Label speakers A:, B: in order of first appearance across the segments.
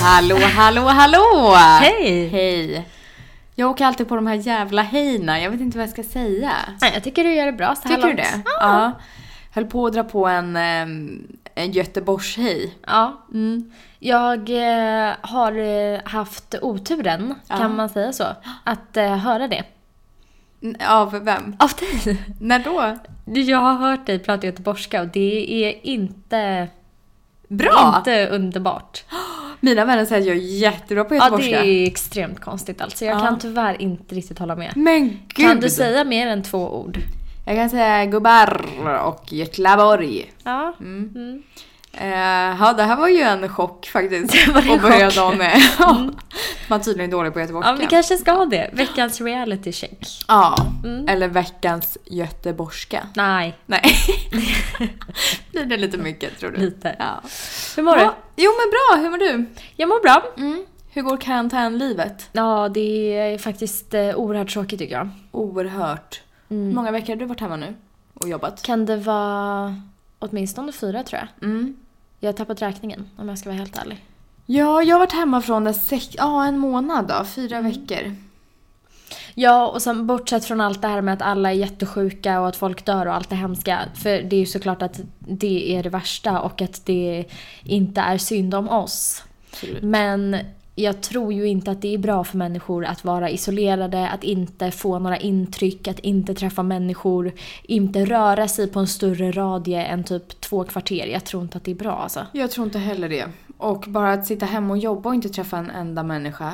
A: Hallå, hallå, hallå!
B: Hej!
A: Hej! Jag åker alltid på de här jävla hejna. Jag vet inte vad jag ska säga.
B: Nej, jag tycker du gör det bra så här
A: Tycker du
B: långt.
A: det?
B: Ja.
A: Ja. Höll på att dra på en, ehm, en Göteborgshej.
B: ja.
A: Mm.
B: Jag eh, har eh, haft oturen,
A: Ja.
B: kan man säga så, att eh, höra det.
A: N- Av vem?
B: Av dig!
A: När då?
B: Jag har hört dig prata göteborgska och det är inte,
A: Bra!
B: inte underbart.
A: Mina vänner säger att jag är jättebra på
B: Ja,
A: göteborgska.
B: det är extremt konstigt alltså. Jag
A: Ja.
B: kan tyvärr inte riktigt hålla med.
A: Men gud!
B: Kan du säga mer än två ord?
A: Jag kan säga gubbar och Götlaborg.
B: Ja.
A: Mm.
B: Mm.
A: Eh, ja, det här var ju en chock faktiskt.
B: var det en
A: att börja
B: chock?
A: dagen
B: Mm.
A: med. Ja. Man är tydligen dålig på göteborgska.
B: Ja, vi kanske ska ha det. Veckans reality check.
A: Ja,
B: Mm.
A: eller veckans göteborgska.
B: Nej,
A: Nej. Blir det lite mycket tror du?
B: lite.
A: Ja.
B: Hur mår du?
A: Ja, Jo men bra, hur mår du?
B: Jag mår bra.
A: Hur går karantänlivet?
B: Ja, det är faktiskt eh, oerhört tråkigt tycker jag.
A: Oerhört. Hur många veckor har du varit hemma nu och jobbat?
B: Kan det vara åtminstone fyra tror jag.
A: Mm.
B: Jag har tappat räkningen om jag ska vara helt ärlig.
A: Ja, jag har varit hemma från den sex, ja, en månad då, fyra veckor.
B: Ja, och sen bortsett från allt det här med att alla är jättesjuka och att folk dör och allt det hemska. För det är ju såklart att det är det värsta och att det inte är synd om oss. Men jag tror ju inte att det är bra för människor att vara isolerade, att inte få några intryck, att inte träffa människor, inte röra sig på en större radie än typ två kvarter. Jag tror inte att det är bra alltså.
A: Jag tror inte heller det. Och bara att sitta hemma och jobba och inte träffa en enda människa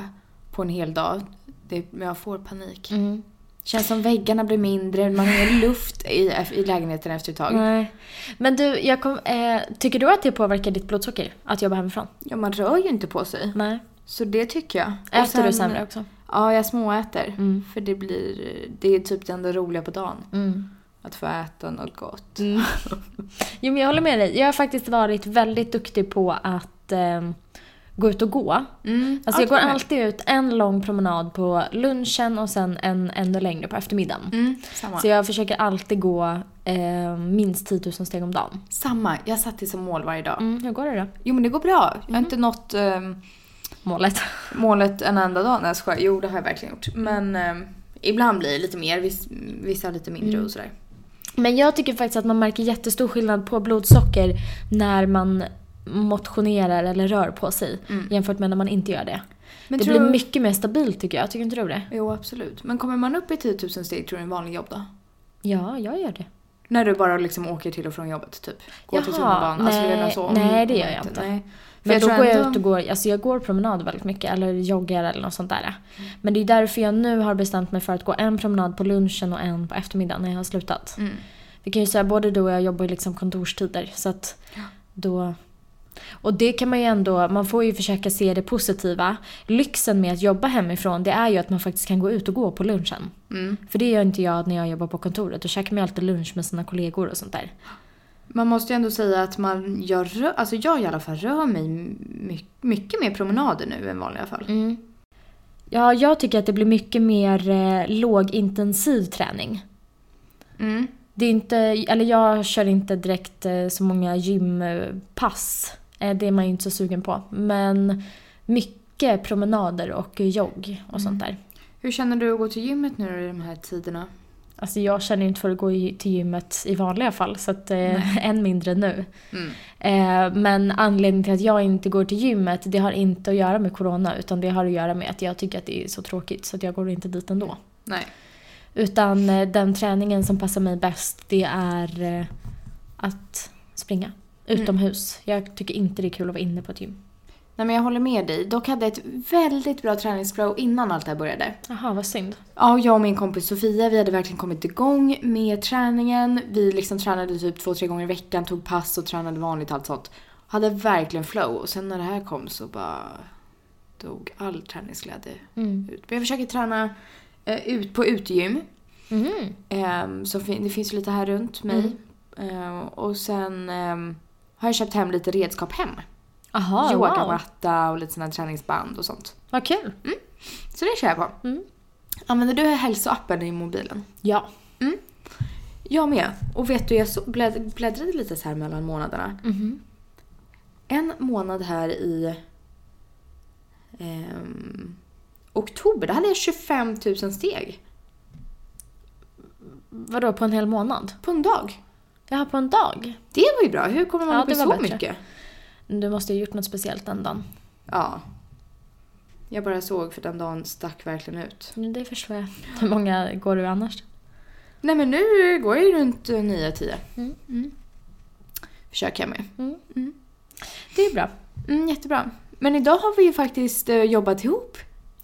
A: på en hel dag, det, men jag får panik.
B: Mm.
A: Känns som väggarna blir mindre, man har ingen luft i, i lägenheten efter ett tag.
B: Nej. Men du, jag kom, eh, tycker du att det påverkar ditt blodsocker att jobba hemifrån?
A: Ja, man rör ju inte på sig.
B: Nej.
A: Så det tycker jag. Och
B: Äter
A: sen-
B: du sämre Mm. också?
A: Ja, jag småäter. För det blir... Det är typ det enda roliga på dagen.
B: Mm.
A: Att få äta något gott.
B: Jo, men jag håller med dig. Jag har faktiskt varit väldigt duktig på att eh, gå ut och gå.
A: Mm,
B: Alltså jag
A: allt
B: går
A: med.
B: alltid ut en lång promenad på lunchen och sen en ännu längre på eftermiddagen.
A: Mm, samma.
B: Så jag försöker alltid gå eh, minst 10 000 steg om dagen.
A: Samma. Jag satt det som mål varje dag. Mm.
B: Mm, hur går det då?
A: Jo, men det går bra. Jag har inte nått ehm,
B: Målet?
A: målet en enda dag. när jag skojar. Jo, det har jag verkligen gjort. Men ehm, ibland blir det lite mer. Viss, vissa lite mindre och sådär.
B: Men jag tycker faktiskt att man märker jättestor skillnad på blodsocker när man motionerar eller rör på sig jämfört med när man inte gör det.
A: Men
B: det
A: tror
B: blir
A: du-
B: mycket mer stabilt tycker jag, tycker inte du det?
A: Jo, absolut. Men kommer man upp i 10 000 steg tror du en vanlig jobb då?
B: Ja, jag gör det.
A: När du bara liksom åker till och från jobbet typ? Går till
B: Jaha,
A: tunnelbanan? Alltså,
B: nej,
A: redan så, om-
B: nej, det gör
A: om
B: jag inte.
A: Nej. För
B: Men då
A: tror
B: går jag
A: ändå-
B: ut och går, alltså jag går promenad väldigt mycket eller joggar eller något sånt där. Men det är därför jag nu har bestämt mig för att gå en promenad på lunchen och en på eftermiddagen när jag har slutat.
A: Mm.
B: Vi kan ju säga både du och jag jobbar ju liksom kontorstider så att då... Och det kan man ju ändå, man får ju försöka se det positiva. Lyxen med att jobba hemifrån det är ju att man faktiskt kan gå ut och gå på lunchen.
A: Mm.
B: För det gör inte jag när jag jobbar på kontoret. Då käkar man ju alltid lunch med sina kollegor och sånt där.
A: Man måste ju ändå säga att man, jag, rö- alltså jag i alla fall rör mig my- mycket mer promenader nu än vanliga fall.
B: Mm. Ja, jag tycker att det blir mycket mer eh, lågintensiv träning.
A: Mm.
B: Det är inte, eller jag kör inte direkt eh, så många gympass. Eh, det är man ju inte så sugen på. Men mycket promenader och jogg och sånt där.
A: Hur känner du att gå till gymmet nu i de här tiderna?
B: Alltså jag känner inte för att gå i- till gymmet i vanliga fall, så att, eh, än mindre nu.
A: Mm.
B: Eh, men anledningen till att jag inte går till gymmet, det har inte att göra med corona, utan det har att göra med att jag tycker att det är så tråkigt, så att jag går inte dit ändå.
A: Nej.
B: Utan eh, den träningen som passar mig bäst, det är eh, att springa utomhus. Jag tycker inte det är kul att vara inne på ett gym.
A: Nej men jag håller med dig. Dock hade jag ett väldigt bra träningsflow innan allt det här började.
B: Jaha, vad synd.
A: Ja, jag och min kompis Sofia, vi hade verkligen kommit igång med träningen. Vi liksom tränade typ två, tre gånger i veckan, tog pass och tränade vanligt allt sånt. Hade verkligen flow och sen när det här kom så bara dog all träningsglädje
B: Mm.
A: ut. Men jag försöker träna eh, ut på utegym.
B: Mhm.
A: Ehm, så fin- det finns ju lite här runt mig.
B: Mm.
A: Ehm, och sen ehm, har jag köpt hem lite redskap hem.
B: Aha, Ah, wow.
A: Yogamatta och lite såna här träningsband och sånt.
B: Vad kul.
A: Så det kör jag på.
B: Mm.
A: Använder du hälsoappen i mobilen?
B: Ja.
A: Jag med. Och vet du, jag så, blädd, bläddrade lite så här mellan månaderna.
B: Mm-hmm.
A: En månad här i ehm, oktober, då hade jag 25 000 steg
B: Vadå, på en hel månad?
A: på en dag.
B: Jag har på en dag.
A: Det var ju bra. Hur kommer man
B: Ja,
A: upp i
B: det var
A: så
B: bättre.
A: mycket?
B: Du måste ju gjort något speciellt den dagen.
A: Ja. Jag bara såg för den dagen stack verkligen ut.
B: Men Det förstår jag. Hur många går du annars?
A: Nej men nu går jag ju runt eh, 9-10.
B: Mm.
A: Försöker jag med.
B: Det är bra.
A: Mm, jättebra. Men idag har vi ju faktiskt eh, jobbat ihop.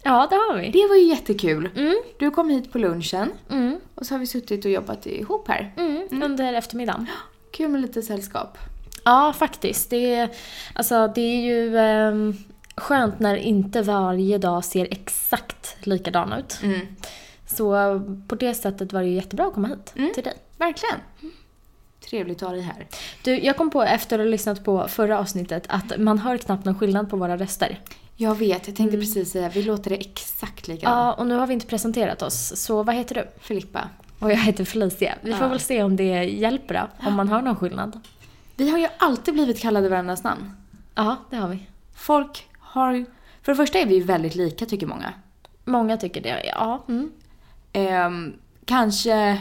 B: Ja, det har vi.
A: Det var ju jättekul.
B: Mm,
A: Du kom hit på lunchen
B: mm,
A: och så har vi suttit och jobbat ihop här.
B: mm, Under eftermiddagen.
A: Kul med lite sällskap.
B: Ja, faktiskt. Det är, alltså, det är ju ehm, skönt när inte varje dag ser exakt likadan ut.
A: Mm.
B: Så eh, på det sättet var det ju jättebra att komma hit
A: Mm.
B: till dig.
A: Verkligen. Trevligt att ha dig här.
B: Du, jag kom på efter att ha lyssnat på förra avsnittet att man hör knappt någon skillnad på våra röster.
A: Jag vet, jag tänkte precis säga vi låter det exakt
B: Mm. Ja,
A: likadant.
B: och nu har vi inte presenterat oss. Så vad heter du?
A: Filippa.
B: Och jag heter Felicia. Vi får
A: Ja.
B: väl se om det hjälper då, om man hör någon skillnad.
A: Vi har ju alltid blivit kallade varandras namn.
B: Ja, det har vi.
A: Folk har... För det första är vi ju väldigt lika tycker många.
B: Många tycker det, ja. Mm.
A: Ehm, kanske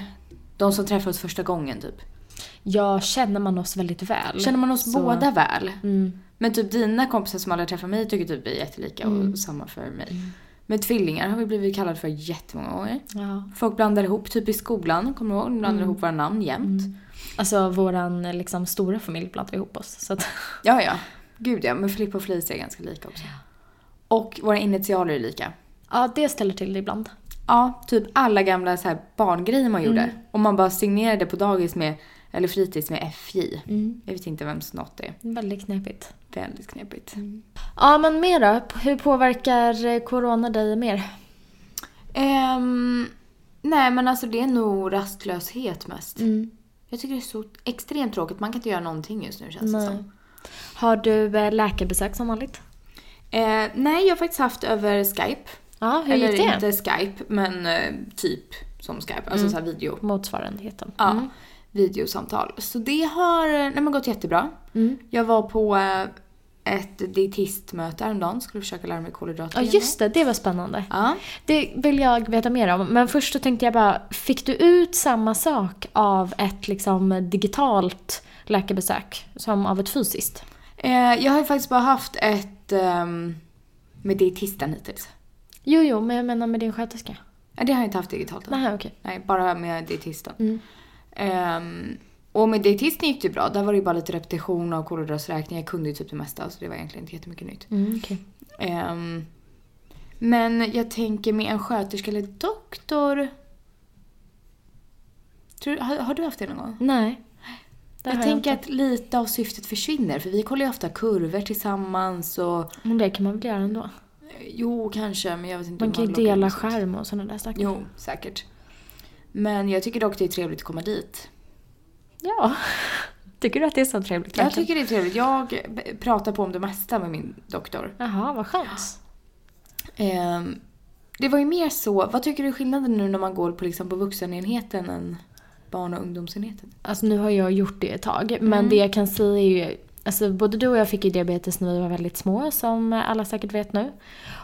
A: de som träffar oss första gången typ.
B: Ja, känner man oss väldigt väl.
A: Känner man oss
B: Mm. Så-
A: båda väl?
B: Mm.
A: Men typ dina kompisar som aldrig träffar mig tycker typ vi är jättelika
B: Mm.
A: och samma för mig. Men tvillingar har vi blivit kallade för jättemånga gånger.
B: Ja.
A: Folk blandar ihop, typ i skolan, kommer du ihåg? De
B: Mm.
A: blandar ihop våra namn jämt.
B: Alltså våran eh, liksom, stora familj blandar ihop oss. Så att,
A: Ja, ja. Gud ja, men Filippa och Felicia är ganska lika också. Och våra initialer är lika.
B: ja, det ställer till det ibland.
A: Ja, typ alla gamla så här barngrejer man
B: Mm.
A: gjorde. Och man bara signerade på dagis med, eller fritids med FJ.
B: Mm.
A: Jag vet inte vems något det är.
B: Väldigt knepigt.
A: Väldigt knepigt.
B: Mm. Ja, men mer då? P- Hur påverkar eh, corona dig mer?
A: Ehm, nej men alltså det är nog rastlöshet mest.
B: Mm.
A: Jag tycker det är så extremt tråkigt. Man kan inte göra någonting just nu känns det
B: Nej.
A: som.
B: Mm. Har du eh, läkarbesök som vanligt?
A: Eh, nej, jag har faktiskt haft över Skype.
B: Ja, hur
A: Eller
B: gick det? Mm.
A: inte Skype, men eh, typ som Skype. Alltså så här video.
B: Motsvarigheten.
A: Ja, videosamtal. Så det har eh, nej, men gått jättebra.
B: Mm.
A: Jag var på eh, ett dietistmöte häromdagen. Skulle försöka lära mig kolhydrater.
B: Ja,
A: igen.
B: just det. Det var spännande.
A: Ja.
B: Det vill jag veta mer om. Men först så tänkte jag bara, fick du ut samma sak av ett liksom digitalt läkarbesök som av ett fysiskt?
A: Eh, jag har ju faktiskt bara haft ett ehm, med dietisten hittills.
B: Jo, jo, men jag menar med din sköterska.
A: Ja, det har jag inte haft digitalt. än.
B: Nej, okej. Mm.
A: Nej, bara med dietisten. Ehm, och med dietisten gick det bra. Där var det ju bara lite repetition av kolhydraträkning. Jag kunde ju typ det mesta så det var egentligen inte jättemycket nytt.
B: Mm, okej.
A: Ehm, men jag tänker med en sköterska eller doktor. Tror, har, har du haft det någon gång?
B: Nej. Det
A: jag
B: har
A: tänker
B: inte.
A: att lite av syftet försvinner för vi kollar ju ofta kurvor tillsammans och eh,
B: Men det kan man väl göra ändå?
A: jo kanske men jag vet inte
B: Man
A: om
B: kan ju
A: loggar in
B: dela
A: och sånt.
B: skärm och sådana där saker.
A: Jo, säkert. Men jag tycker dock det är trevligt att komma dit.
B: Ja. Tycker du att det är så trevligt?
A: Jag
B: verkligen?
A: tycker det är trevligt. Jag b- pratar på om det mesta med min doktor.
B: Jaha, vad skönt.
A: Ehm, det var ju mer så, vad tycker du är skillnaden nu när man går på, liksom, på vuxenenheten än barn och ungdomsenheten?
B: Alltså nu har jag gjort det ett tag, men det jag kan säga är ju Alltså både du och jag fick ju diabetes när vi var väldigt små som alla säkert vet nu.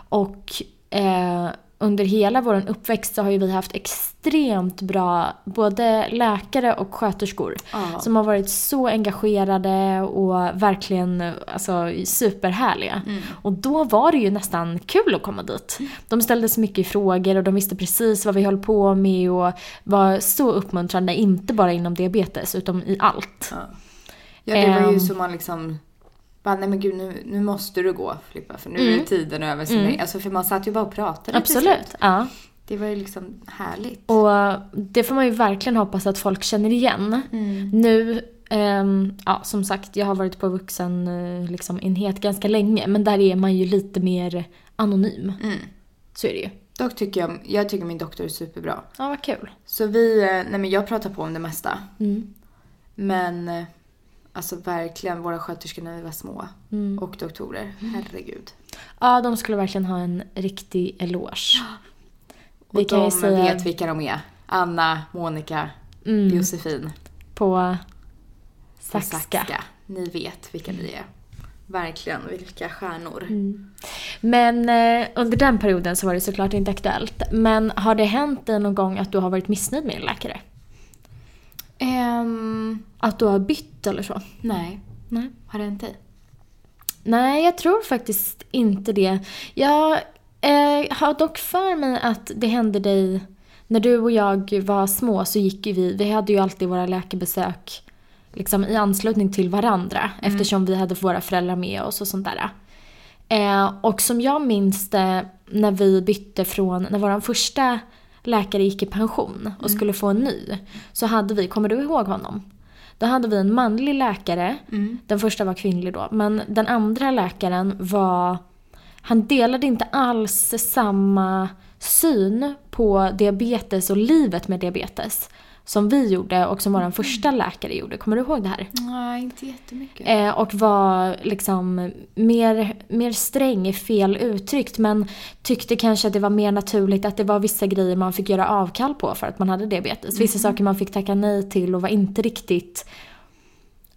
B: Och eh, under hela vår uppväxt så har ju vi haft extremt bra både läkare och sköterskor.
A: Ja.
B: Som har varit så engagerade och verkligen alltså, superhärliga. Och då var det ju nästan kul att komma dit. De ställde så mycket frågor och de visste precis vad vi höll på med och var så uppmuntrande, inte bara inom diabetes utan i allt.
A: Ja, det var ju
B: Ehm.
A: som man liksom bara, nej men gud nu, nu måste du gå Filippa för nu är tiden över. Så nej, alltså, för man satt ju bara och pratade. till slut.
B: Mm. Absolut. Ja.
A: Det var ju liksom härligt.
B: Och det får man ju verkligen hoppas att folk känner igen.
A: Mm.
B: Nu, ehm, ja som sagt, jag har varit på vuxen eh, liksom, enhet ganska länge men där är man ju lite mer anonym.
A: Mm.
B: Så är det ju.
A: Dock tycker jag, jag tycker min doktor är superbra.
B: Ja, vad kul.
A: Så vi, eh, nej men jag pratar på om det mesta.
B: Mm.
A: Men eh, alltså verkligen våra sköterskor när vi var små.
B: Mm.
A: Och doktorer. Herregud.
B: Ja, de skulle verkligen ha en riktig eloge.
A: Och
B: Vi kan ju
A: de
B: säga-
A: vet vilka de är. Anna, Monica,
B: Mm.
A: Josefin.
B: På
A: på
B: saxka.
A: Ni vet vilka ni är. Verkligen, vilka stjärnor.
B: Mm. Men eh, under den perioden så var det såklart inte aktuellt. Men har det hänt dig någon gång att du har varit missnöjd med en läkare?
A: Ehm,
B: Att du har bytt eller så?
A: nej.
B: Nej.
A: Har det hänt dig?
B: Nej, jag tror faktiskt inte det. Jag eh, har dock för mig att det hände dig... När du och jag var små så gick ju vi... Vi hade ju alltid våra läkarbesök liksom, i anslutning till varandra eftersom vi hade våra föräldrar med oss och sånt där. Eh, och som jag minns det när vi bytte från... När vår första läkare gick i pension och skulle få en ny så hade vi... Kommer du ihåg honom? Då hade vi en manlig läkare.
A: Mm.
B: Den första var kvinnlig då. Men den andra läkaren var... Han delade inte alls samma syn på diabetes och livet med diabetes som vi gjorde och som vår första läkare gjorde. Kommer du ihåg det här?
A: Nej, inte jättemycket.
B: Eh, och var liksom mer, mer sträng i fel uttryckt men tyckte kanske att det var mer naturligt att det var vissa grejer man fick göra avkall på för att man hade diabetes. Vissa saker man fick tacka nej till och var inte riktigt,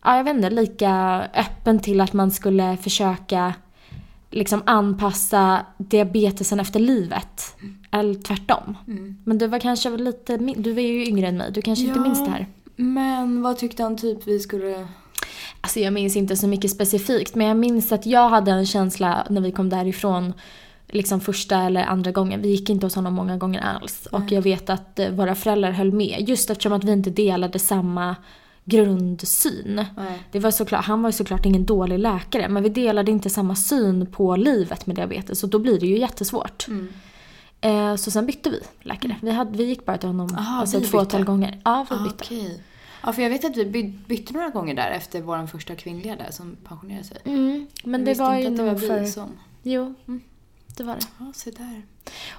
B: ja jag vet inte, lika öppen till att man skulle försöka liksom anpassa diabetesen efter livet. Eller tvärtom. Men du var kanske lite, min- du var ju yngre än mig, du kanske inte
A: Mm. Ja.
B: minns det här.
A: Men vad tyckte han typ vi skulle...
B: Alltså jag minns inte så mycket specifikt men jag minns att jag hade en känsla när vi kom därifrån liksom första eller andra gången. Vi gick inte hos honom många gånger alls och jag vet att eh, våra föräldrar höll med just eftersom att vi inte delade samma grundsyn.
A: Nej.
B: Det var såklart, han var ju såklart ingen dålig läkare men vi delade inte samma syn på livet med diabetes och då blir det ju jättesvårt.
A: Mm.
B: Eh, Så sen bytte vi läkare. Vi, hade, vi gick bara till honom
A: Aha,
B: alltså
A: vi
B: ett fåtal
A: bytte.
B: gånger. Ja, vi
A: Ah,
B: bytte.
A: Okej. Ja, för jag vet att vi by- bytte några gånger där efter vår första kvinnliga där som pensionerade sig.
B: Mm, men
A: Jag
B: det
A: visste
B: var
A: inte
B: ju
A: att det
B: nog
A: var
B: för...
A: vi som...
B: Jo, mm. det var det.
A: Ja, se där.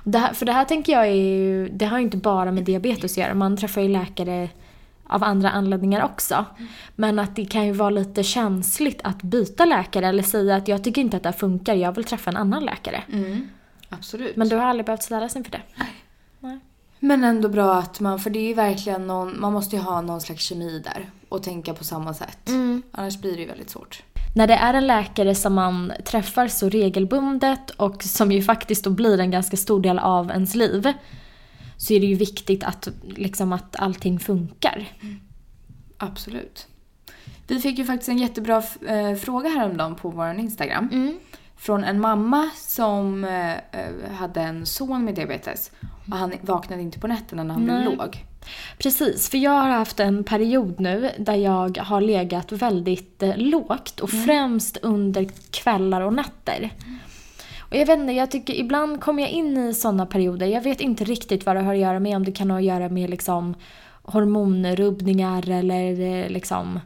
B: Det här, för det här tänker jag är ju, det har ju inte bara med diabetes att göra. Man träffar ju läkare av andra anledningar också. Men att det kan ju vara lite känsligt att byta läkare eller säga att jag tycker inte att det här funkar, jag vill träffa en annan läkare.
A: Mm. Absolut.
B: Men du har aldrig behövt ställas inför det.
A: Men ändå bra att man, för det är ju verkligen någon, man måste ju ha någon slags kemi där och tänka på samma sätt. Annars blir det ju väldigt svårt.
B: När det är en läkare som man träffar så regelbundet och som ju faktiskt då blir en ganska stor del av ens liv så är det ju viktigt att, liksom, att allting funkar.
A: Absolut. Vi fick ju faktiskt en jättebra f- eh, fråga häromdagen på vår Instagram. Från en mamma som eh, eh, hade en son med diabetes. Och han vaknade inte på nätterna när han blev
B: Nej.
A: låg.
B: Precis, för jag har haft en period nu där jag har legat väldigt eh, lågt och främst under kvällar och nätter. Och jag vet inte, jag tycker ibland kommer jag in i sådana perioder. Jag vet inte riktigt vad det har att göra med, om det kan ha att göra med liksom hormonrubbningar eller eh, liksom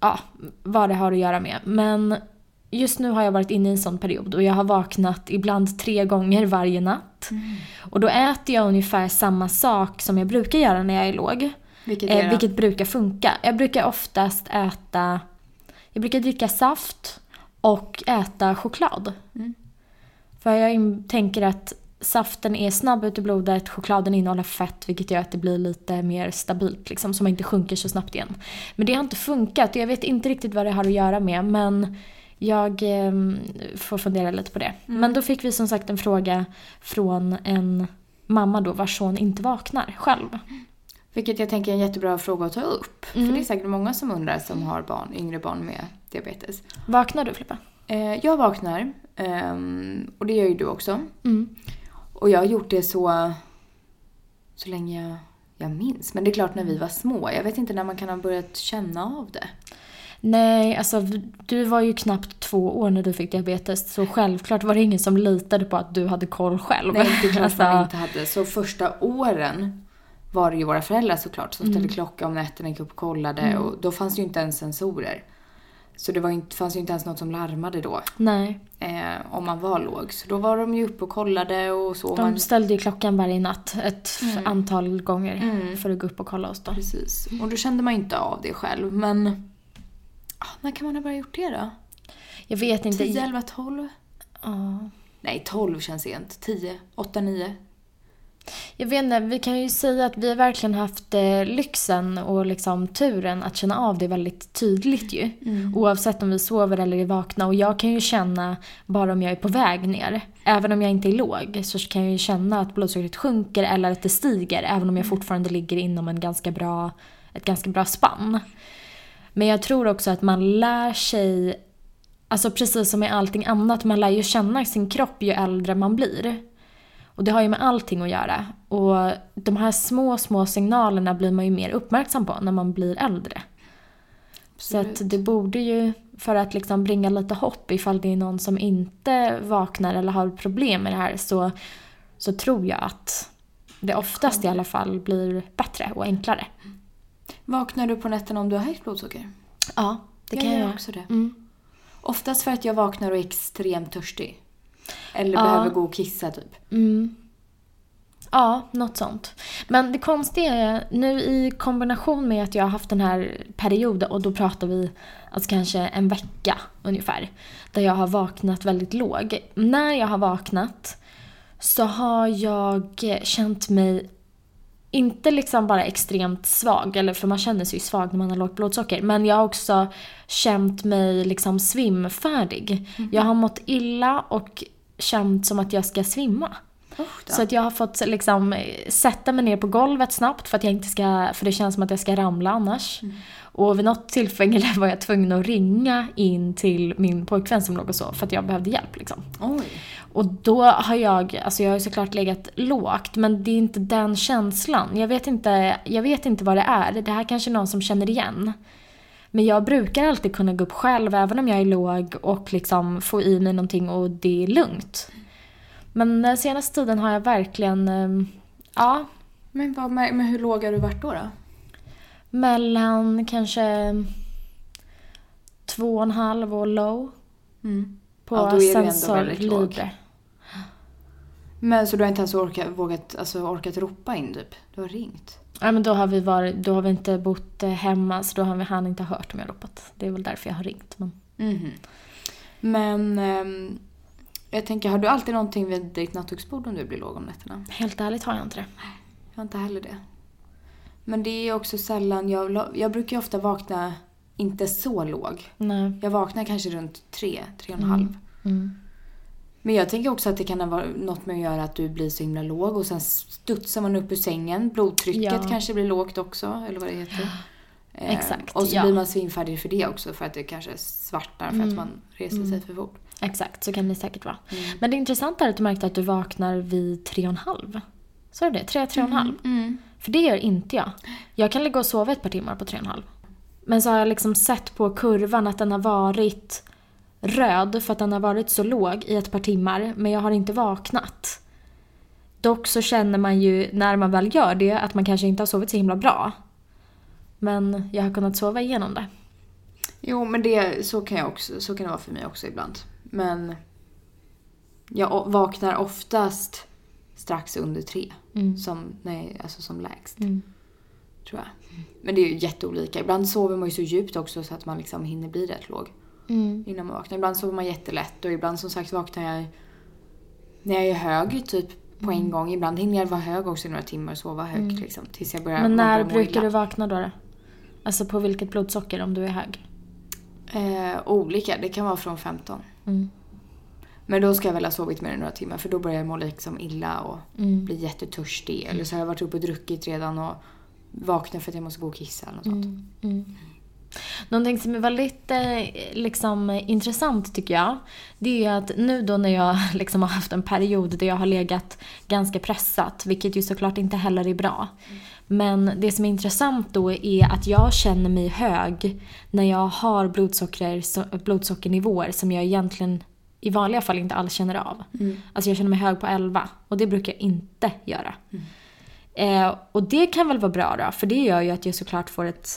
B: ja, vad det har att göra med. Men just nu har jag varit inne i en sån period och jag har vaknat ibland tre gånger varje natt. Och då äter jag ungefär samma sak som jag brukar göra när jag är låg.
A: Vilket är
B: Eh,
A: det?
B: vilket brukar funka. Jag brukar oftast äta, jag brukar dricka saft och äta choklad. För jag in- tänker att saften är snabb ut i blodet, chokladen innehåller fett vilket gör att det blir lite mer stabilt liksom så man inte sjunker så snabbt igen. Men det har inte funkat och jag vet inte riktigt vad det har att göra med men jag eh, får fundera lite på det. Men då fick vi som sagt en fråga från en mamma då vars son inte vaknar själv.
A: Vilket jag tänker är en jättebra fråga att ta upp. För det är säkert många som undrar som har barn, yngre barn med diabetes.
B: Vaknar du Filippa?
A: Eh, jag vaknar ehm, och det gör ju du också.
B: Mm.
A: Och jag har gjort det så, så länge jag, jag minns. Men det är klart när vi var små. Jag vet inte när man kan ha börjat känna av det.
B: Nej, alltså v- du var ju knappt två år när du fick diabetes så självklart var det ingen som litade på att du hade koll själv.
A: Nej, det är klart
B: Alltså,
A: man inte hade. Så första åren var det ju
B: Mm.
A: våra föräldrar såklart som ställde klocka om nätterna, gick upp och kollade. Och då fanns ju inte ens sensorer. Så det var inte, fanns ju inte ens något som larmade då.
B: Nej.
A: Eh, om man var låg. Så då var de ju uppe och kollade och så.
B: De
A: man,
B: ställde ju klockan varje natt ett f-
A: Mm.
B: antal gånger
A: Mm.
B: för att gå upp och kolla oss då.
A: precis.
B: Mm.
A: Och då kände man ju inte av det själv. Men ah, när kan man ha börjat gjort det då?
B: Jag vet inte.
A: 10, 11, 12?
B: Ja.
A: Nej, 12 känns sent. 10, 8, 9.
B: Jag vet inte, vi kan ju säga att vi har verkligen haft eh, lyxen och liksom turen att känna av det väldigt tydligt ju. Oavsett om vi sover eller är vakna. Och jag kan ju känna bara om jag är på väg ner. Även om jag inte är låg så kan jag ju känna att blodsockret sjunker eller att det stiger. Även om jag fortfarande ligger inom en ganska bra, ett ganska bra spann. Men jag tror också att man lär sig, alltså precis som med allting annat, man lär ju känna sin kropp ju äldre man blir. Och det har ju med allting att göra. Och de här små, små signalerna blir man ju mer uppmärksam på när man blir äldre. Så
A: Absolut.
B: att det borde ju, för att liksom bringa lite hopp ifall det är någon som inte vaknar eller har problem med det här så, så tror jag att det oftast i alla fall blir bättre och enklare.
A: Vaknar du på nätterna om du har högt blodsocker?
B: Ja, det kan
A: jag
B: jag
A: gör
B: göra.
A: också det.
B: Mm.
A: Oftast för att jag vaknar och är extremt törstig. Eller
B: Ja.
A: behöver gå och kissa typ.
B: Mm. Ja, något sånt. Men det konstiga är, nu i kombination med att jag har haft den här perioden, och då pratar vi alltså kanske en vecka ungefär, där jag har vaknat väldigt låg. När jag har vaknat så har jag känt mig inte liksom bara extremt svag, eller för man känner sig ju svag när man har lågt blodsocker, men jag har också känt mig liksom svimfärdig. Jag har mått illa och känt som att jag ska svimma.
A: Usch då.
B: Så att jag har fått liksom eh, sätta mig ner på golvet snabbt för att jag inte ska, för det känns som att jag ska ramla annars. Och vid något tillfälle var jag tvungen att ringa in till min pojkvän som låg och så för att jag behövde hjälp liksom.
A: Oj.
B: Och då har jag, alltså jag har ju såklart legat lågt men det är inte den känslan. Jag vet inte, jag vet inte vad det är. Det här kanske är någon som känner igen. Men jag brukar alltid kunna gå upp själv även om jag är låg och liksom få i mig någonting och det är lugnt. Men den senaste tiden har jag verkligen, eh, ja,
A: Men, vad, men hur låg har du varit då? då?
B: mellan kanske två och en halv och low på
A: Ja, då är du ändå
B: sensor
A: väldigt låg.
B: libre.
A: Men så du har inte ens orkat, vågat, alltså, orkat ropa in typ? Du har ringt?
B: Ja, men då har vi, varit, då har vi inte bott eh, hemma så då har vi, han inte hört om jag ropat. Det är väl därför jag har ringt. Men...
A: Mhm. Men ehm, jag tänker, har du alltid någonting vid ditt nattduksbord om du blir låg om nätterna?
B: Helt ärligt har jag inte det.
A: Jag har inte heller det. Men det är också sällan, jag, jag brukar ju ofta vakna inte så låg.
B: Nej.
A: Jag vaknar kanske runt tre, tre och en
B: Mm.
A: halv.
B: Mm.
A: Men jag tänker också att det kan ha varit något med att göra att du blir så himla låg och sen studsar man upp ur sängen. Blodtrycket
B: Ja.
A: kanske blir lågt också, eller vad det heter. Eh,
B: Exakt,
A: Och så
B: ja.
A: blir man svimfärdig för det också, för att det kanske svartnar för att
B: Mm.
A: man reser sig för fort.
B: Exakt, så kan det säkert vara.
A: Mm.
B: Men det intressanta är att du märkte att du vaknar vid tre och en halv. Sa du det? Tre, tre och en halv?
A: Mm.
B: För det gör inte jag. Jag kan ligga och sova ett par timmar på tre och en halv. Men så har jag liksom sett på kurvan att den har varit röd för att den har varit så låg i ett par timmar men jag har inte vaknat. Dock så känner man ju när man väl gör det att man kanske inte har sovit så himla bra. Men jag har kunnat sova igenom det.
A: Jo, men det, så, kan jag också, så kan det vara för mig också ibland. Men jag o- vaknar oftast strax under tre,
B: Mm.
A: som, nej, alltså som lägst.
B: Mm.
A: Tror jag. Men det är ju jätteolika. Ibland sover man ju så djupt också så att man liksom hinner bli rätt låg.
B: Mm.
A: innan man vaknar. Ibland sover man jättelätt och ibland som sagt vaknar jag när jag är hög typ på en gång. Ibland hinner jag vara hög också i några timmar och sova högt liksom tills jag börjar
B: Mm. Men
A: man börjar
B: när
A: må
B: brukar du
A: illa.
B: vakna då? då? Alltså på vilket blodsocker om du är hög?
A: Eh, olika, det kan vara från 15.
B: Mm.
A: Men då ska jag väl ha sovit mer än några timmar för då börjar jag må liksom illa och
B: Mm.
A: bli jättetörstig. Eller så har jag varit uppe och druckit redan och vaknar för att jag måste gå och kissa eller något sånt.
B: Mm, mm. Någonting som är väldigt eh, liksom, eh, intressant tycker jag, det är att nu då när jag liksom har haft en period där jag har legat ganska pressat, vilket ju såklart inte heller är bra. Men det som är intressant då är att jag känner mig hög när jag har blodsocker, så- blodsockernivåer som jag egentligen i vanliga fall inte alls känner av. Alltså jag känner mig hög på 11 och det brukar jag inte göra. Eh, och det kan väl vara bra då, för det gör ju att jag såklart får ett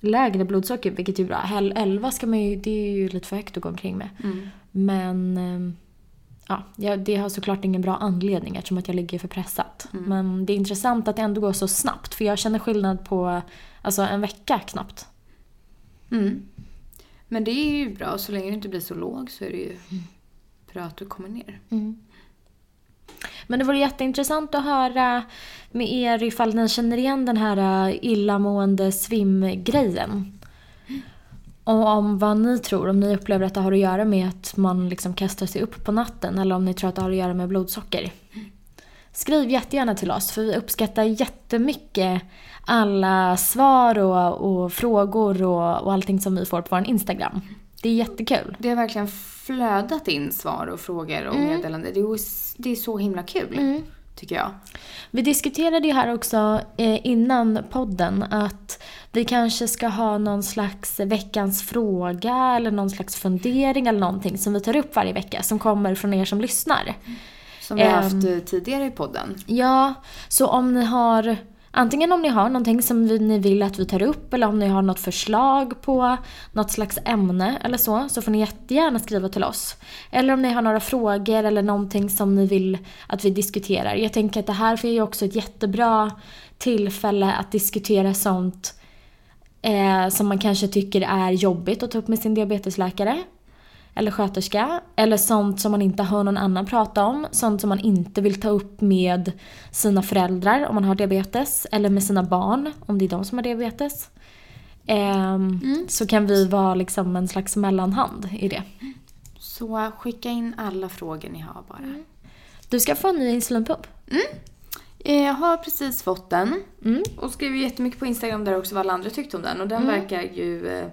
B: lägre blodsocker, vilket är bra. Hell- 11 ska man ju, det är ju lite för högt att gå omkring med.
A: Mm.
B: Men ehm, ja, jag, det har såklart ingen bra anledning eftersom att jag ligger för pressat. Men det är intressant att det ändå går så snabbt för jag känner skillnad på alltså, en vecka knappt.
A: Mm. Men det är ju bra, så länge du inte blir så låg så är det ju bra att du kommer ner.
B: Mm. Men det vore jätteintressant att höra med er ifall ni känner igen den här eh, illamående svimgrejen. Och om vad ni tror, om ni upplever att det har att göra med att man liksom kastar sig upp på natten eller om ni tror att det har att göra med blodsocker. Skriv jättegärna till oss för vi uppskattar jättemycket alla svar och, och frågor och, och allting som vi får på vår Instagram. Det är jättekul.
A: Det har verkligen flödat in svar och frågor och meddelanden. Det är, ju- det är så himla kul,
B: Mm.
A: tycker jag.
B: Vi diskuterade ju här också eh, innan podden att vi kanske ska ha någon slags veckans fråga eller någon slags fundering eller någonting som vi tar upp varje vecka som kommer från er som lyssnar.
A: Som vi har
B: Ehm.
A: haft eh, tidigare i podden.
B: Ja, så om ni har antingen om ni har någonting som vi, ni vill att vi tar upp eller om ni har något förslag på något slags ämne eller så, så får ni jättegärna skriva till oss. Eller om ni har några frågor eller någonting som ni vill att vi diskuterar. Jag tänker att det här är ju också ett jättebra tillfälle att diskutera sånt eh, som man kanske tycker är jobbigt att ta upp med sin diabetesläkare eller sköterska. Eller sånt som man inte hör någon annan prata om. Sånt som man inte vill ta upp med sina föräldrar om man har diabetes. Eller med sina barn om det är de som har diabetes. Ehm, Så kan vi vara liksom en slags mellanhand i det.
A: Så eh, skicka in alla frågor ni har bara.
B: Du ska få en ny insulinpump.
A: Eh, Jag har precis fått den.
B: Mm.
A: Och skrev ju jättemycket på Instagram där också vad alla andra tyckte om den. Och den verkar ju eh,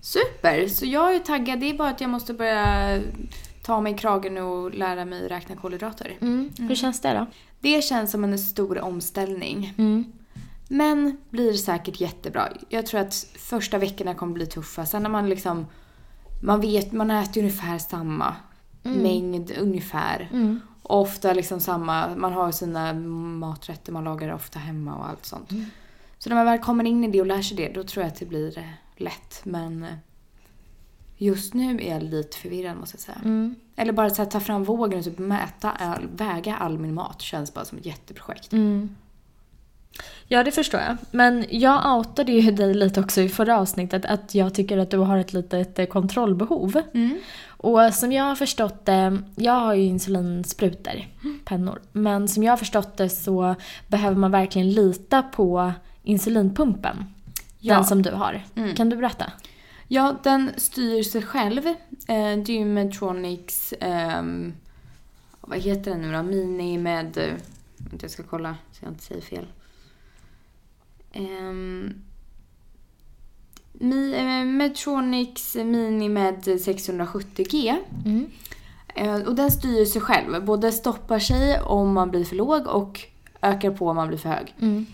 A: super. Så jag är taggad. Det är bara att jag måste börja ta mig i kragen och lära mig räkna kolhydrater.
B: Mm. Hur känns det då?
A: Det känns som en stor omställning.
B: Mm.
A: Men blir säkert jättebra. Jag tror att första veckorna kommer bli tuffa. Sen när man liksom... Man vet, man äter ungefär samma mängd ungefär.
B: Mm.
A: Och Ofta liksom samma, man har sina maträtter man lagar ofta hemma och allt sånt.
B: Mm.
A: Så när man väl kommer in i det och lär sig det, då tror jag att det blir eh, lätt. Men eh, just nu är jag lite förvirrad måste jag säga.
B: Mm.
A: Eller bara så här, ta fram vågen och typ mäta, all, väga all min mat känns bara som ett jätteprojekt.
B: Mm. Ja, det förstår jag. Men jag outade ju dig lite också i förra avsnittet att jag tycker att du har ett litet eh, kontrollbehov. Och som jag har förstått det, jag har ju insulinsprutor, pennor. Men som jag har förstått det så behöver man verkligen lita på insulinpumpen.
A: Ja.
B: Den som du har.
A: Mm.
B: Kan du berätta?
A: Ja, den styr sig själv. Eh, det är ju Medtronics... ehm, vad heter den nu då? Mini med... eh, Vänta, jag ska kolla så jag inte säger fel. Ehm, Mi, eh, Medtronics Mini med 670G.
B: Mm.
A: Eh, och den styr sig själv. Både stoppar sig om man blir för låg och ökar på om man blir för hög.
B: Mm.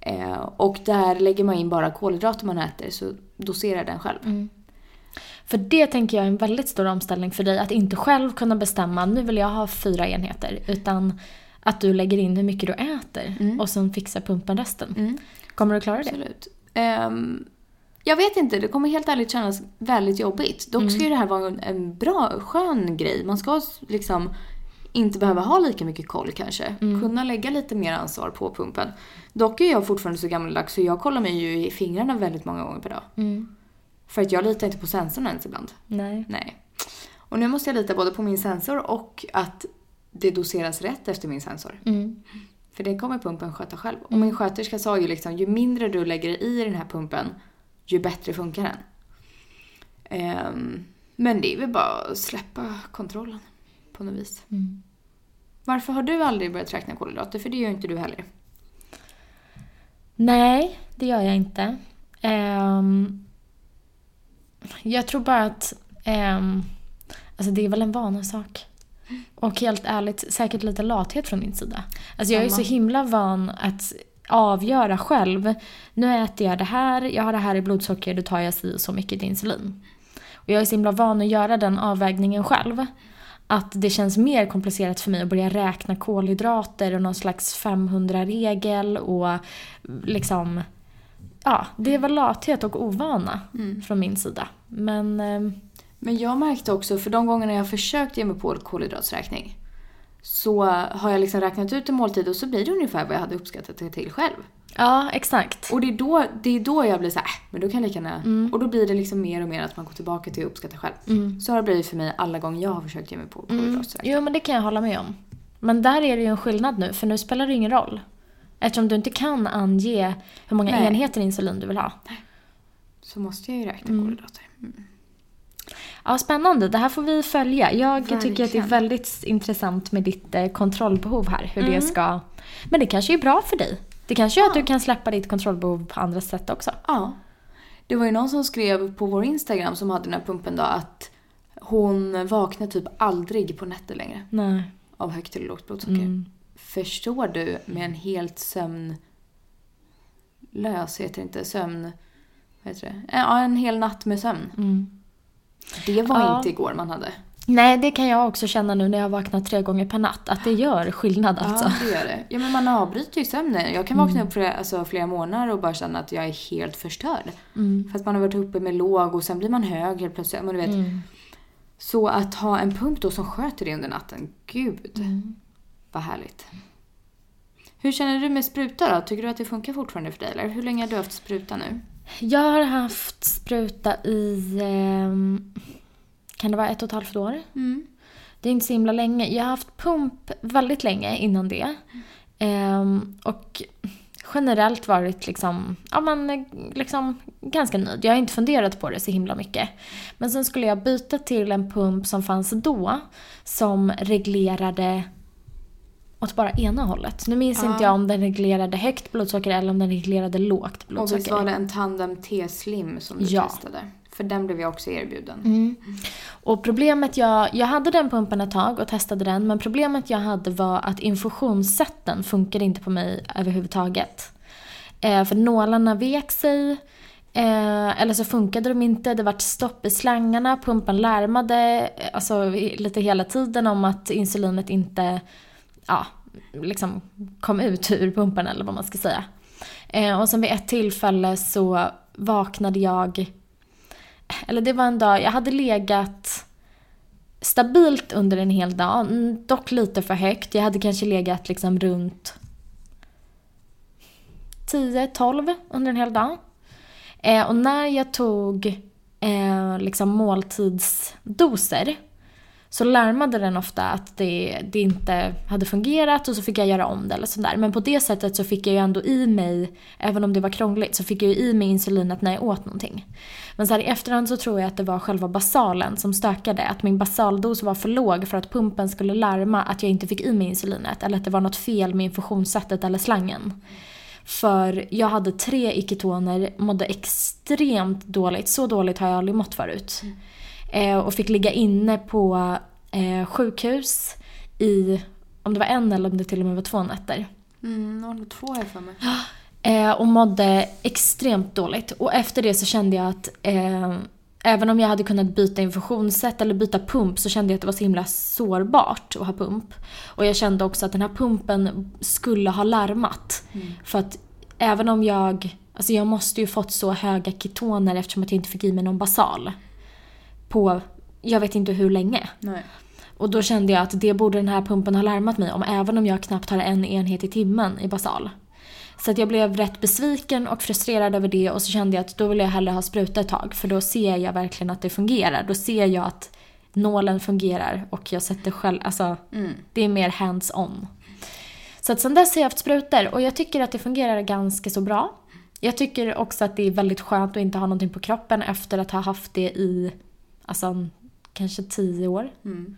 A: Eh, och där lägger man in bara kolhydrater man äter så doserar den själv.
B: Mm. För det tänker jag är en väldigt stor omställning för dig. Att inte själv kunna bestämma, nu vill jag ha fyra enheter. Utan att du lägger in hur mycket du äter
A: Mm.
B: och sen fixar pumpen resten.
A: Mm.
B: Kommer du klara det?
A: Absolut. Ehm, jag vet inte, det kommer helt ärligt kännas väldigt jobbigt. Dock ska ju det här vara en, en bra, skön grej. Man ska s- liksom inte behöva ha lika mycket koll kanske. Kunna lägga lite mer ansvar på pumpen. Dock är jag fortfarande så gammaldags så jag kollar mig ju i fingrarna väldigt många gånger per dag.
B: Mm.
A: För att jag litar inte på sensorn ens ibland.
B: Nej.
A: Nej. Och nu måste jag lita både på min sensor och att det doseras rätt efter min sensor.
B: Mm.
A: För det kommer pumpen sköta själv. Och min sköterska sa ju liksom, ju mindre du lägger i den här pumpen, ju bättre funkar den. Ehm, men det är väl bara att släppa kontrollen på något vis.
B: Mm.
A: Varför har du aldrig börjat räkna kolhydrater? För det gör ju inte du heller.
B: Nej, det gör jag inte. Ehm, jag tror bara att ehm, alltså det är väl en vanesak. Och helt ärligt, säkert lite lathet från min sida. Alltså jag är så
A: Samma.
B: himla van att avgöra själv. Nu äter jag det här, jag har det här i blodsocker, då tar jag si och så mycket insulin. Och jag är så himla van att göra den avvägningen själv. Att det känns mer komplicerat för mig att börja räkna kolhydrater och någon slags 500-regel och liksom ja, det var lathet och ovana från min sida. Men eh,
A: Men jag märkte också, för de gångerna jag försökt ge mig på kolhydraträkning så har jag liksom räknat ut en måltid och så blir det ungefär vad jag hade uppskattat det till själv.
B: ja, exakt.
A: Och det är då, det är då jag blir så här, "Äh, men då kan jag lika gärna... Och då blir det liksom mer och mer att man går tillbaka till att uppskatta själv. Så har det blivit för mig alla gånger jag har försökt ge mig på kolhydraträkning.
B: Jo, men det kan jag hålla med om. Men där är det ju en skillnad nu, för nu spelar det ingen roll. Eftersom du inte kan ange hur många
A: Nej.
B: enheter insulin du vill ha.
A: Så måste jag ju räkna kolhydrater.
B: Ja, spännande. Det här får vi följa. Jag tycker att det är
A: Verkligen.
B: väldigt intressant med ditt eh, kontrollbehov här. Hur det ska... Men det kanske är bra för dig. Det kanske är att du kan släppa ditt kontrollbehov på andra sätt också.
A: Ja. Det var ju någon som skrev på vår Instagram som hade den här pumpen då att hon vaknar typ aldrig på nätter längre
B: Nej.
A: av högt eller lågt blodsocker.
B: Mm,
A: Förstår du med en helt sömn... Lös heter det inte. Sömn... Vad heter det? Ja, en hel natt med sömn.
B: mm.
A: Det var
B: Ja.
A: inte igår man hade.
B: Nej, det kan jag också känna nu när jag vaknar tre gånger per natt. Att det gör skillnad alltså. Mm.
A: Ja, det gör det. Ja, men man avbryter ju sömnen. Jag kan vakna upp flera, alltså, flera månader och bara känna att jag är helt förstörd.
B: Mm.
A: För att man har varit uppe med låg och sen blir man hög helt plötsligt. Men du vet.
B: Mm.
A: Så att ha en punkt då som sköter det under natten. Gud,
B: Mm.
A: vad härligt. Hur känner du med spruta då? Tycker du att det funkar fortfarande för dig? Eller hur länge har du haft spruta nu?
B: Jag har haft spruta i... ehm, kan det vara ett och ett halvt år? Det är inte så himla länge. Jag har haft pump väldigt länge innan det. Ehm, och generellt varit liksom, ja, men, eh, liksom ganska nöjd. Jag har inte funderat på det så himla mycket. Men sen skulle jag byta till en pump som fanns då som reglerade åt bara ena hållet. Nu minns
A: Ja.
B: inte jag om den reglerade högt blodsocker eller om den reglerade lågt
A: Och visst
B: blodsocker.
A: var det en Tandem T-slim som du
B: Ja. Mm.
A: testade? För den blev jag också erbjuden.
B: Och problemet jag, jag hade den pumpen ett tag och testade den men problemet jag hade var att infusionssätten funkade inte på mig överhuvudtaget. Eh, för nålarna vek sig, eh, eller så funkade de inte, det vart stopp i slangarna, pumpen larmade eh, alltså, i- lite hela tiden om att insulinet inte ja, liksom kom ut ur pumpen eller vad man ska säga. Eh, och sen vid ett tillfälle så vaknade jag eller det var en dag, jag hade legat stabilt under en hel dag, mm, dock lite för högt. Jag hade kanske legat liksom runt 10-12 under en hel dag. Eh, och när jag tog eh, liksom måltidsdoser så larmade den ofta att det, det inte hade fungerat och så fick jag göra om det eller sådär. Men på det sättet så fick jag ju ändå i mig, även om det var krångligt, så fick jag ju i mig insulinet när jag åt någonting. Men så här i efterhand så tror jag att det var själva basalen som stökade. Att min basaldos var för låg för att pumpen skulle larma att jag inte fick i mig insulinet. Eller att det var något fel med infusionssättet eller slangen. För jag hade tre iketoner, mådde extremt dåligt. Så dåligt har jag aldrig mått förut. Eh, och fick ligga inne på eh, sjukhus i, om det var en eller om det till och med var två nätter.
A: Mm, 02 har jag för mig.
B: Eh, och mådde extremt dåligt. Och efter det så kände jag att eh, även om jag hade kunnat byta infusionssätt eller byta pump så kände jag att det var så himla sårbart att ha pump. Och jag kände också att den här pumpen skulle ha larmat. För att även om jag, alltså jag måste ju fått så höga ketoner eftersom att jag inte fick i mig någon basal. På, jag vet inte hur länge.
A: Nej.
B: Och då kände jag att det borde den här pumpen ha larmat mig om även om jag knappt har en enhet i timmen i basal. Så att jag blev rätt besviken och frustrerad över det och så kände jag att då vill jag hellre ha spruta ett tag för då ser jag verkligen att det fungerar. Då ser jag att nålen fungerar och jag sätter själv, alltså det är mer hands-on. Så att sen dess har jag haft sprutor och jag tycker att det fungerar ganska så bra. Jag tycker också att det är väldigt skönt att inte ha någonting på kroppen efter att ha haft det i alltså, kanske tio år.
A: Mm.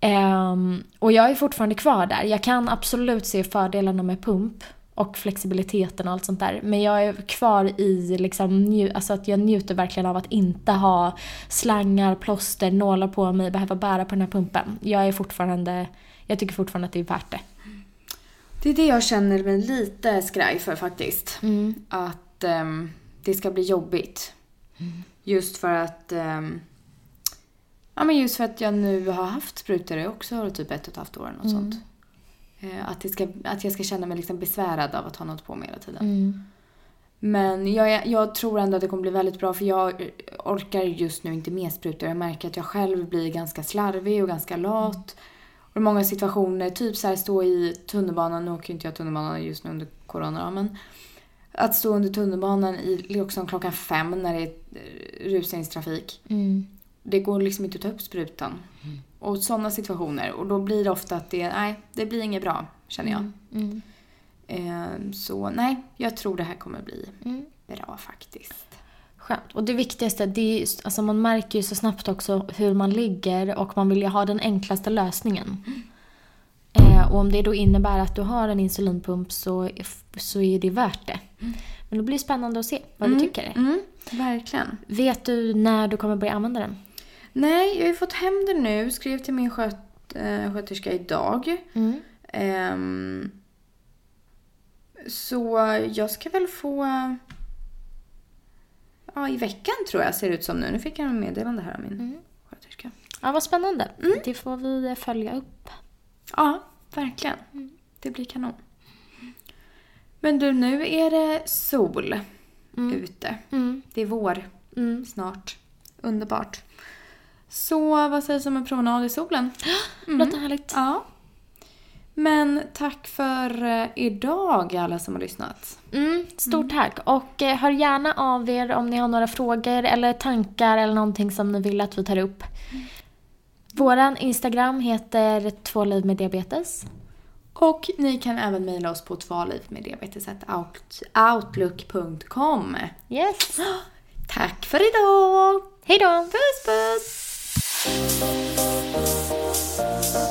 B: Ehm, och jag är fortfarande kvar där. Jag kan absolut se fördelarna med pump och flexibiliteten och allt sånt där. Men jag är kvar i liksom, nju- alltså att jag njuter verkligen av att inte ha slangar, plåster, nålar på mig, behöva bära på den här pumpen. Jag är fortfarande, jag tycker fortfarande att det är värt det.
A: Det är det jag känner mig lite skraj för faktiskt.
B: Mm,
A: Att ehm, det ska bli jobbigt. Just för att... ehm, ja, men just för att jag nu har haft sprutor i också typ ett och ett halvt år och sånt.
B: mm,
A: Eh, att, det ska, att jag ska känna mig liksom besvärad av att ha något på mig hela tiden. Men jag, jag tror ändå att det kommer bli väldigt bra för jag orkar just nu inte med sprutor. Jag märker att jag själv blir ganska slarvig och ganska lat. Och i många situationer, typ så här stå i tunnelbanan, nu åker ju inte jag tunnelbanan just nu under corona då, men att stå under tunnelbanan i liksom klockan fem när det är eh, rusningstrafik.
B: Mm.
A: Det går liksom inte att ta upp sprutan. Och sådana situationer. Och då blir det ofta att det, nej, det blir inget bra, känner jag.
B: Mm.
A: Eh, så nej, jag tror det här kommer bli
B: Mm.
A: bra faktiskt.
B: Skönt. Och det viktigaste, det är ju, alltså man märker ju så snabbt också hur man ligger och man vill ju ha den enklaste lösningen. Eh, och om det då innebär att du har en insulinpump så, så är det värt det. Men det blir spännande att se vad du tycker.
A: Mm, verkligen.
B: Vet du när du kommer börja använda den?
A: Nej, jag har ju fått hem det nu. Skrev till min sköt, eh, sköterska idag. Ehm, så jag ska väl få... eh, Ja, i veckan tror jag ser det ut som nu. Nu fick jag en meddelande här av min
B: Mm.
A: sköterska.
B: Ja, vad spännande. Det får vi följa upp.
A: Ja, verkligen.
B: Mm.
A: Det blir kanon. Men du, nu är det sol ute.
B: Mm.
A: Det är vår
B: Mm.
A: snart. Underbart. Så vad sägs om en promenad i solen?
B: Låter härligt.
A: Ja. Men tack för eh, idag alla som har lyssnat.
B: Mm, stort tack. Och eh, hör gärna av er om ni har några frågor eller tankar eller någonting som ni vill att vi tar upp. Våran Instagram heter Två liv med diabetes.
A: Och ni kan även mejla oss på tvalivmeddiabetes.outlook.com.
B: Yes!
A: Tack för idag!
B: Hej då!
A: Puss puss!